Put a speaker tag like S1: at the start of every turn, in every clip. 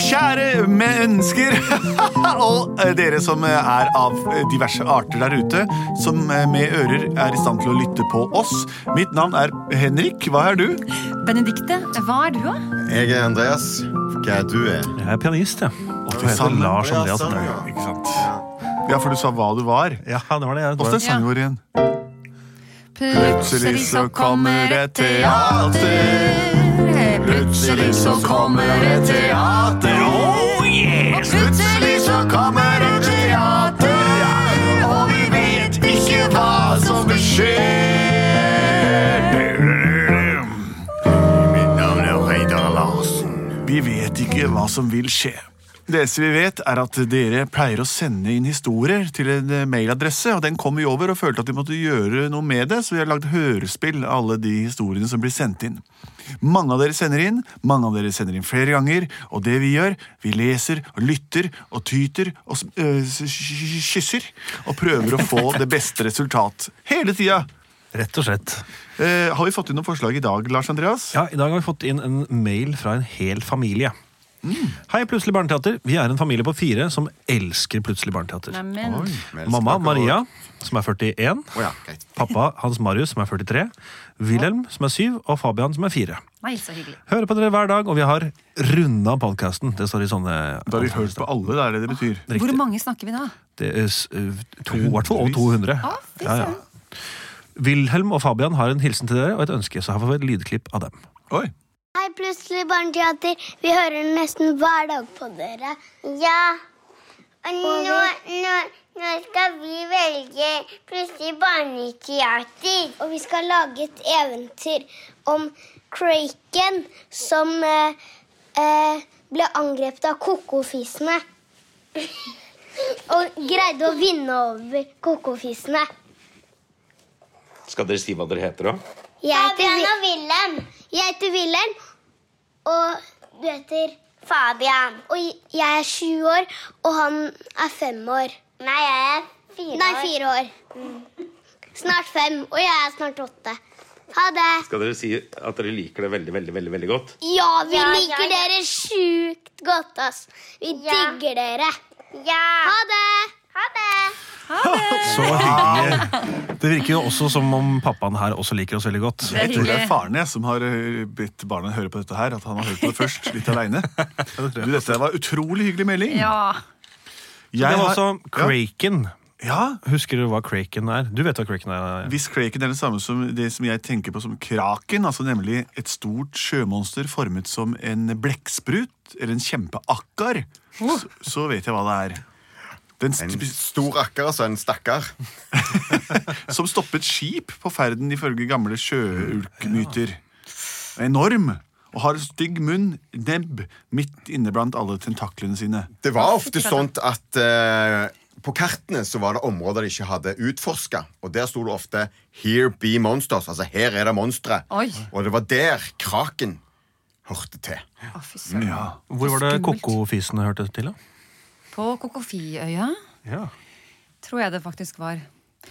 S1: Kjære mennesker og eh, dere som er av diverse arter der ute, som eh, med ører er i stand til å lytte på oss. Mitt navn er Henrik. Hva er du?
S2: Benedikte, hva er du, da?
S3: Jeg er Andreas. Hva er du? Er?
S4: Jeg er pianist, jeg. Og
S1: fy
S4: jeg heter
S1: sann.
S4: Lars
S3: Ja,
S4: Andreas.
S3: sånn,
S4: Andreas.
S1: Ikke sant? Ja, for du sa hva du var.
S4: Ja, det var det. Jeg
S1: Åssen
S4: var.
S1: er sangen vår igjen? Plutselig så kommer et
S2: teater.
S1: Plutselig så kommer et teater. Oh yeah! Plutselig så kommer et teater, og vi vet ikke hva som skjer.
S3: Mitt navn er Reidar Larsen.
S1: Vi vet ikke hva som vil skje. Det eneste vi vet, er at dere pleier å sende inn historier til en eh, mailadresse, og den kom vi over og følte at vi måtte gjøre noe med det, så vi har lagd hørespill av alle de historiene som blir sendt inn. Mange av dere sender inn, mange av dere sender inn flere ganger, og det vi gjør, vi leser og lytter og tyter og s- øh, s- s- kysser og prøver å få det beste resultat. Hele tida!
S4: Rett og slett.
S1: Eh, har vi fått inn noen forslag i dag, Lars Andreas?
S4: Ja, I dag har vi fått inn en mail fra en hel familie.
S3: Mm.
S4: Hei, Plutselig barneteater. Vi er en familie på fire som elsker Plutselig barneteater.
S2: Neimen.
S4: Mamma Maria, som er 41.
S3: Å ja, greit.
S4: Pappa Hans Marius, som er 43. Wilhelm, som er 7. Og Fabian, som er 4.
S2: Nei, så hyggelig.
S4: Hører på dere hver dag, og vi har runda podkasten. Det står i sånne
S1: Da har vi hørt på alle, det er det det betyr.
S2: Hvor mange snakker vi da?
S4: Det er s- to, i hvert fall, og
S1: Hundrevis.
S4: 200.
S2: Å, fy
S4: Ja, ja.
S2: søren.
S4: Wilhelm og Fabian har en hilsen til dere og et ønske, så her får vi et lydklipp av dem.
S1: Oi.
S5: Hei, plutselig barneteater. Vi hører nesten hver dag på dere. Ja. Og nå, nå, nå skal vi velge plutselig barneteater. Og vi skal lage et eventyr om Kraken som eh, eh, ble angrepet av kokofisene. Og greide å vinne over kokofisene.
S6: Skal dere si hva dere heter, da?
S5: Jeg heter Fabian og Wilhelm. Jeg heter Wilhelm. Og du heter Fabian. Og jeg er sju år, og han er fem år. Nei, jeg er fire Nei, fire år. Mm. Snart fem, og jeg er snart åtte. Ha det.
S6: Skal dere si at dere liker det veldig, veldig, veldig, veldig godt?
S5: Ja, vi liker dere sjukt godt, ass. Vi digger dere. Ha det. Ha det.
S4: Så hyggelig. Det virker jo også som om pappaen her også liker oss veldig godt.
S1: Jeg tror det er faren jeg som har eh, bedt barna høre på dette her. At han har hørt på det først, litt aleine. Du, dette var utrolig hyggelig melding.
S2: Ja.
S4: Det var
S1: har-
S4: også Kraken.
S1: Ja,
S4: Husker du hva Kraken er? Du vet hva Kraken er?
S1: Hvis Kraken er det samme som det som jeg tenker på som kraken, altså nemlig et stort sjømonster formet som en blekksprut eller en kjempeakkar, så, så vet jeg hva det er. Den
S3: En
S1: st
S3: stor akker, altså. En stakkar.
S1: som stoppet skip på ferden ifølge gamle sjøulkmyter. Enorm. Og har en stygg munn, nebb, midt inne blant alle tentaklene sine.
S3: Det var ofte sånn at eh, på kartene så var det områder de ikke hadde utforska. Og der sto det ofte 'Here be monsters'. Altså her er det monstre.
S2: Oi.
S3: Og det var der kraken hørte til.
S2: Å, fy søren.
S1: Ja.
S4: Hvor var det
S2: Skummelt.
S4: kokofisene hørte til, da?
S2: På Kokofiøya
S4: Ja.
S2: tror jeg det faktisk var.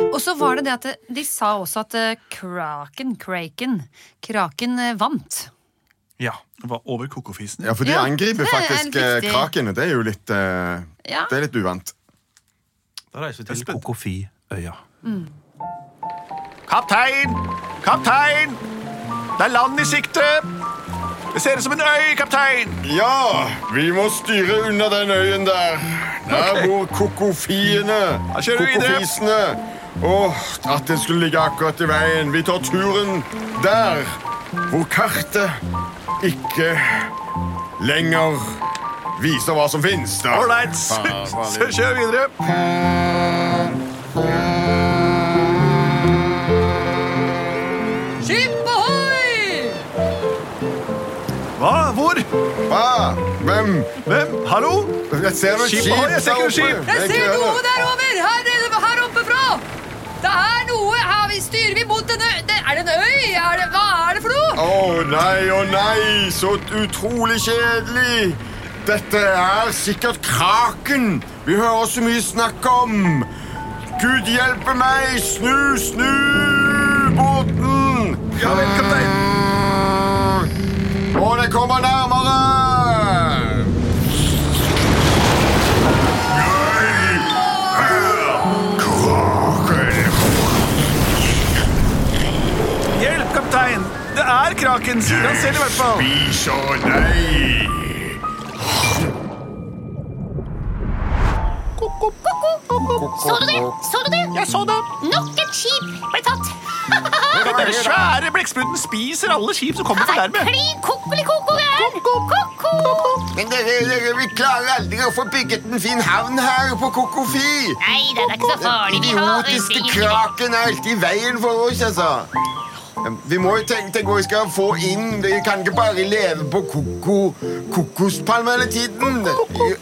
S2: Og så var det det at det- de sa også at eh, Kraken, Kraken, Kraken eh, vant.
S4: ja.
S1: Det var over kokofisen.
S3: Ja, for de
S2: Ja,
S3: angriper
S2: det er
S3: faktisk
S2: litt
S3: eh,
S2: viktig.
S3: kraken, og det er jo litt, eh,
S2: Ja.
S3: det er litt uvant.
S4: Da reiser vi til
S1: spent.
S4: Kokofiøya.
S1: Mm. Kaptein! Kaptein! Det er land i sikte! Det ser ut som en øy, kaptein!
S3: Ja, vi må styre unna den øyen der. Der bor kokofiene.
S1: Da kjører vi videre.
S3: Kokofisene. Åh, at den skulle ligge akkurat i veien. Vi tar turen der hvor kartet ikke lenger viser hva som finnes. da.
S1: Ålreit,
S3: Faen, faen,
S1: så kjør videre.
S2: Skip ohoi!
S1: Hva? Hvor?
S3: Hva? Hvem?
S1: Hvem? Hallo?
S3: Ah, Jeg ser noe
S1: Skip,
S3: skip
S1: oi, jeg ser ikke noe skip.
S3: oppe.
S2: Jeg
S3: er
S2: ser
S3: ikke
S2: noe
S3: det.
S2: der over! Her, nede- her oppe fra! Det er noe her vi styrer vi mot en øy. Det, er det en øy? Er det, hva er det for noe?
S3: Å nei, å nei, så utrolig kjedelig. Dette er sikkert kraken vi hører så mye snakk om. Gud hjelpe meg, snu, snu båten.
S1: Ja vel, kaptein.
S3: Og det kommer nærmere.
S1: er kraken, sier han selv i hvert fall.
S3: Spiser deg.
S7: Så du det? Så du det?
S1: Jeg så det.
S7: Nok et skip ble tatt.
S1: Den svære blekkspruten spiser alle skip som kommer for
S7: Nei,
S1: nærme.
S7: klin kokelikoko gæren. Ko-ko.
S3: Men dere, dere, vi klarer aldri å få bygget en fin havn her på Kokofi.
S7: Nei, det er ikke så farlig.
S3: Den
S7: Vi har
S3: idiotiske kraken er alltid i veien for oss, altså. Vi må jo tenke tenke hva vi skal få inn. Vi kan ikke bare leve på koko, kokospalme hele tiden. Jeg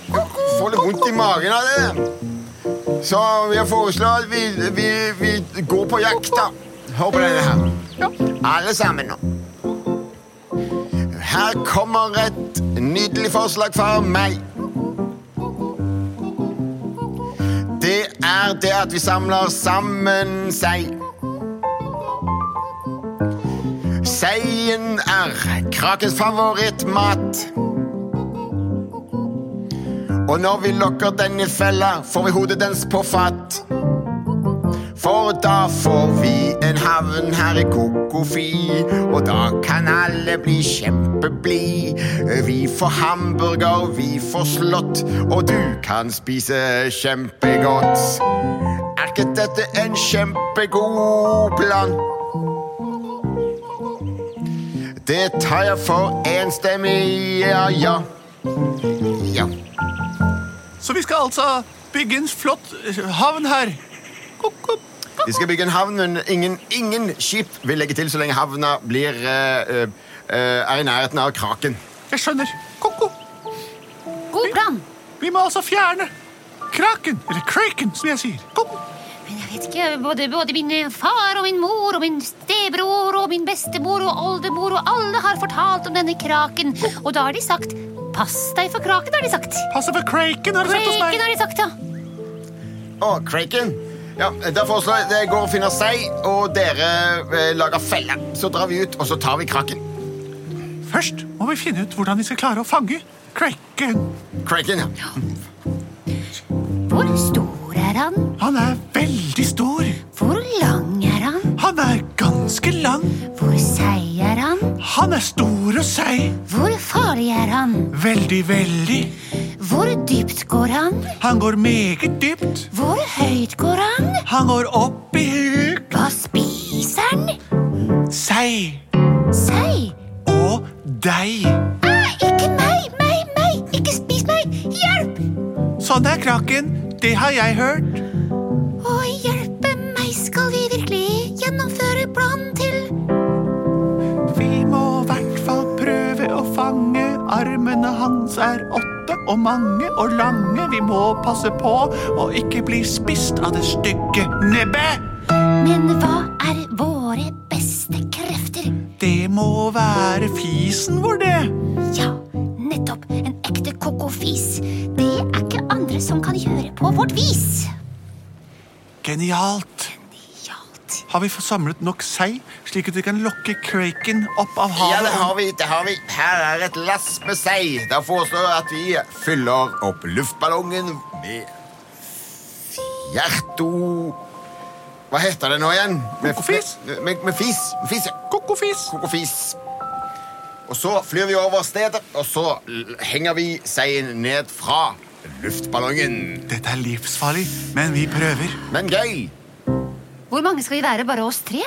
S3: Får litt vondt i magen av det. Så jeg foreslår at vi, vi, vi går på jakt, da. Hør på denne her. Alle sammen nå. Her kommer et nydelig forslag fra meg. det er det at vi samler sammen sei. Seien er krakens favorittmat. Og når vi lokker den i fella, får vi hodet dens på fatt. For da får vi en havn her i Kokofi, og da kan alle bli kjempeblid. Vi får hamburger, vi får slått, og du kan spise kjempegodt. Er ikke dette en kjempegod plan? Det tar jeg for enstemmig, ja, ja. Ja.
S1: Så vi skal altså bygge en flott eh, havn her. Kokk-kokk.
S3: Vi skal bygge en havn, men ingen, ingen skip vil legge til så lenge havna blir, eh, eh, er i nærheten av kraken.
S1: Jeg skjønner. Kokk-kokk.
S2: God plan.
S1: Vi må altså fjerne kraken. Eller kraken, som jeg sier. Kokk-kokk.
S7: Jeg vet ikke, både, både min eh, far og min mor og min stebror og min bestemor og oldemor og alle har fortalt om denne kraken. Og da har de sagt 'pass deg for kraken', har de sagt.
S1: Passe for kraken, har du sett hos
S7: Kraken
S1: meg.
S7: har de sagt, ja.
S3: Å, kraken. Ja, da foreslår jeg det går og finner seg, og dere eh, lager felle. Så drar vi ut, og så tar vi kraken.
S1: Først må vi finne ut hvordan vi skal klare å fange kraken.
S3: Kraken, ja.
S7: Hvor stor er han?
S1: Han er veldig stor.
S7: Hvor lang er han?
S1: Han er ganske lang.
S7: Hvor seig er han?
S1: Han er stor og seig.
S7: Hvor farlig er han?
S1: Veldig, veldig.
S7: Hvor dypt går han?
S1: Han går meget dypt.
S7: Hvor høyt går han?
S1: Han går opp i huet.
S7: Hva spiser han?
S1: Seig
S7: Sei?
S1: og deg.
S7: Ah, ikke meg, meg, meg! Ikke spis meg! Hjelp!
S1: Sånn er kraken. Det har jeg hørt.
S7: Å, hjelpe meg, skal vi virkelig gjennomføre planen til
S1: Vi må i hvert fall prøve å fange. Armene hans er åtte og mange og lange. Vi må passe på å ikke bli spist av det stygge nebbet.
S7: Men hva er våre beste krefter?
S1: Det må være fisen vår, det.
S7: Ja, nettopp. En ekte kokofis. Det er ikke andre som kan gjøre på vårt vis.
S1: Genialt.
S7: Genialt.
S1: Har vi fått samlet nok sei, slik at vi kan lokke kraken opp av
S3: Ja,
S1: havet?
S3: det har vi. det har vi. Her er et lass med seg. Da foreslår jeg at vi fyller opp luftballongen med fjerto... Hva heter det nå igjen? Med,
S1: Kokofis?
S3: Med, med, med fis. Med fis, ja.
S1: Kokofis.
S3: kokofis. Og så flyr vi over stedet, og så l- henger vi seien ned fra luftballongen.
S1: Dette er livsfarlig, men vi prøver.
S3: Men gøy!
S2: Hvor mange skal vi være? Bare oss tre?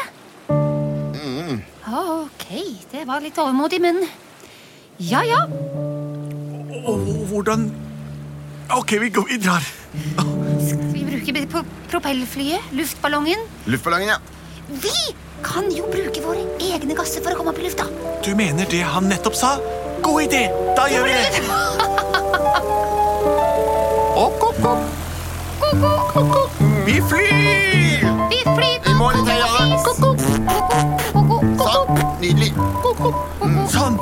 S7: Ok, det var litt overmodig, men Ja ja,
S1: Og hvordan Ok, vi, går, vi drar.
S7: vi bruker pro propellflyet, luftballongen.
S3: Luftballongen, ja.
S7: Vi kan jo bruke våre egne gasser for å komme opp i lufta.
S1: Du mener det han nettopp sa? God idé! Da gjør vi det. Opp, opp, opp. Vi flyr!
S7: Vi flyr
S3: I mål i tøyene. Sånn. Nydelig.
S1: Sånn.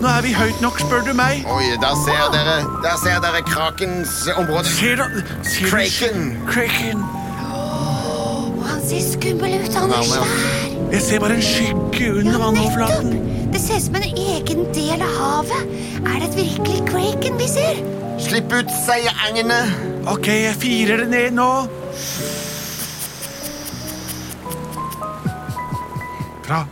S1: Nå er vi høyt nok, spør du meg.
S3: Oi, der ser dere, der ser dere krakens område.
S1: Ser du ser du-
S3: Kraken.
S1: Kraken.
S7: Han ser skummel ut. Han er svær.
S1: Jeg ser bare en skygge under
S7: Nettopp!
S1: vannoverflaten.
S7: Det ser ut som en egen del av havet. Er det et virkelig Kraken vi ser?
S3: Slipp ut seierengene.
S1: Ok, jeg firer det ned nå. Bra.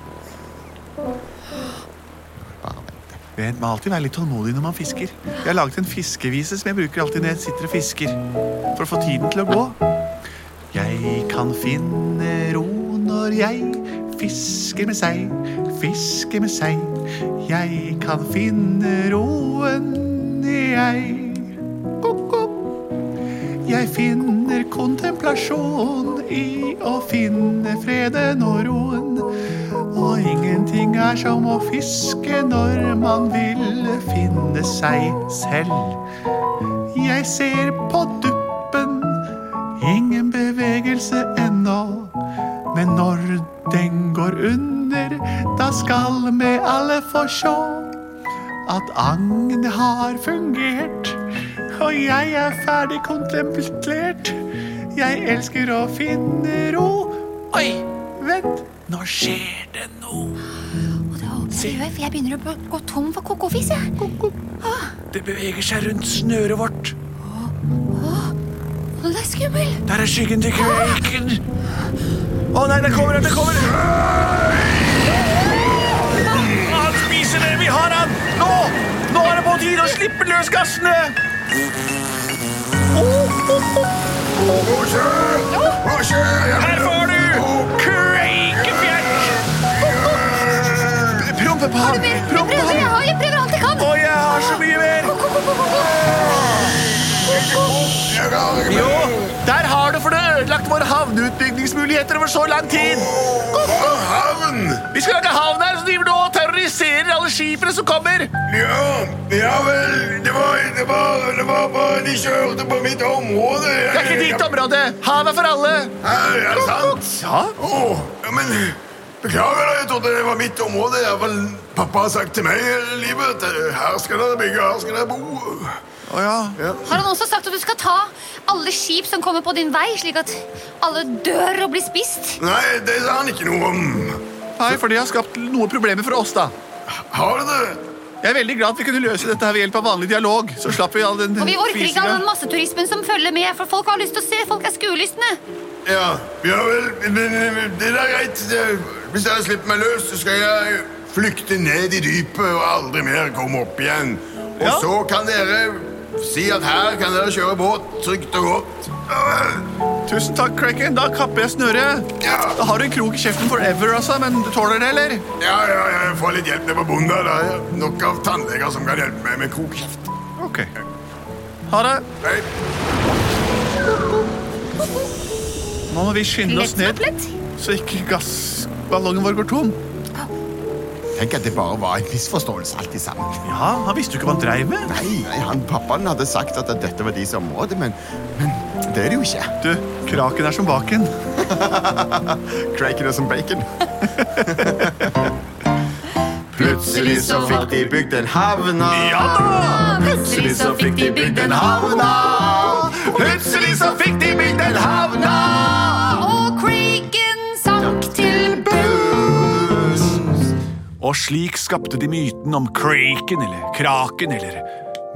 S1: Vet, Man må alltid være litt tålmodig når man fisker. Jeg har laget en fiskevise som jeg bruker alltid når jeg sitter og fisker. For å få tiden til å gå. Jeg kan finne ro når jeg fisker med seg, fisker med seg. Jeg kan finne roen i jeg. Ko-ko. Jeg finner kontemplasjon i å finne freden og roen. Og ingenting er som å fiske når man vil finne seg selv. Jeg ser på duppen, ingen bevegelse ennå. Men når den går under, da skal vi alle få sjå at agnet har fungert. Og jeg er ferdig kontemplert. Jeg elsker å finne ro. Oi, vent, nå skjer det noe.
S7: Og det håper jeg, for jeg begynner å gå tom for kokofis, jeg.
S1: Det beveger seg rundt snøret vårt.
S7: Å, det er skummel.
S1: Der er skyggen til kveiken. Å nei, det kommer, det kommer! Han spiser det! Vi har han! Nå! Nå er det på tide å slippe løs gassene!
S3: Roger! Roger!
S1: Her får du kveikefjert! Prompepar!
S7: Prøver, jeg, har- jeg prøver alt jeg kan.
S1: Å, jeg har så mye mer! Jo, der har du for det ødelagt våre havneutbyggingsmuligheter over så lang tid.
S3: Og havn!
S1: Vi skal lage havn her, så driver du og terroriserer alle skipene som kommer.
S3: Ja, ja vel, det var, det, var, det var bare de kjørte på mitt område.
S1: Det er ikke ditt område. Havet er for alle.
S3: Er er det sant?
S1: Ja,
S3: Å, ja, men beklager da, jeg trodde det var mitt område. Jeg, vel, pappa har sagt til meg hele livet at eh, her skal dere bygge, her skal dere bo.
S1: å ja.
S7: Har han også sagt at du skal ta alle skip som kommer på din vei, slik at alle dør og blir spist?
S3: Nei, det sa han ikke noe om.
S1: Nei, for det har skapt noen problemer for oss, da.
S3: Har dere det?
S1: Jeg er veldig glad at vi kunne løse dette her ved hjelp av vanlig dialog. Så slapp vi all den
S7: Og vi orker ikke all
S1: fisingen.
S7: den masseturismen som følger med, for folk har lyst til å se, folk er skuelystne.
S3: Ja, ja vel, men, men, det er greit. Det- Hvis dere slipper meg løs, så skal jeg flykte ned i dypet og aldri mer komme opp igjen. Og
S1: Ja.
S3: så kan dere si at her kan dere kjøre båt trygt og godt. Ja vel.
S1: Tusen takk, Kraken. Da kapper jeg snøret.
S3: Ja.
S1: Da har du en krok i kjeften forever, altså. Men du tåler det, eller?
S3: Ja, ja, ja, jeg får litt hjelp ned på bonden. der. Det er nok av tannleger som kan hjelpe meg med kokkjeft.
S1: Ok. Ha det.
S3: Hei.
S1: Nå må vi skynde oss ned, så ikke gassballongen vår går tom.
S8: Tenk at det bare var en misforståelse alt i sammen.
S1: Ja, Han visste jo ikke hva han dreiv med.
S8: Nei, nei, han Pappaen hadde sagt at dette var deres område, men, men det er det jo ikke.
S1: Du, kraken er som baken.
S8: Kraken og som bacon. Plutselig så fikk de bygd en havna.
S1: Ja da!
S8: Plutselig så fikk de bygd en havna. Plutselig så fikk de bygd en havna.
S7: Og Kraken sank til
S1: Og slik skapte de myten om kraken, eller kraken, eller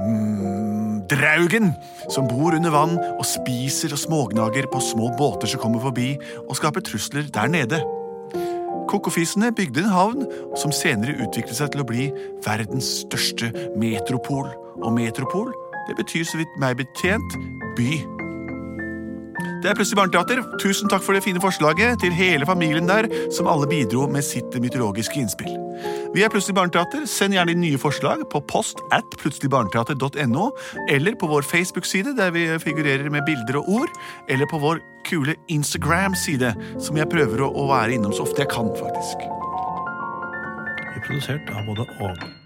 S1: mm, draugen, som bor under vann og spiser og smågnager på små båter som kommer forbi og skaper trusler der nede. Kokofisene bygde en havn som senere utviklet seg til å bli verdens største metropol. Og metropol det betyr så vidt meg betjent by. Det er Plutselig barneteater. Tusen takk for det fine forslaget til hele familien der, som alle bidro med sitt mytologiske innspill. Vi er Plutselig barneteater. Send gjerne inn nye forslag på post at plutseligbarneteater.no, eller på vår Facebook-side, der vi figurerer med bilder og ord, eller på vår kule Instagram-side, som jeg prøver å, å være innom så ofte jeg kan, faktisk.
S4: Produsert av både og.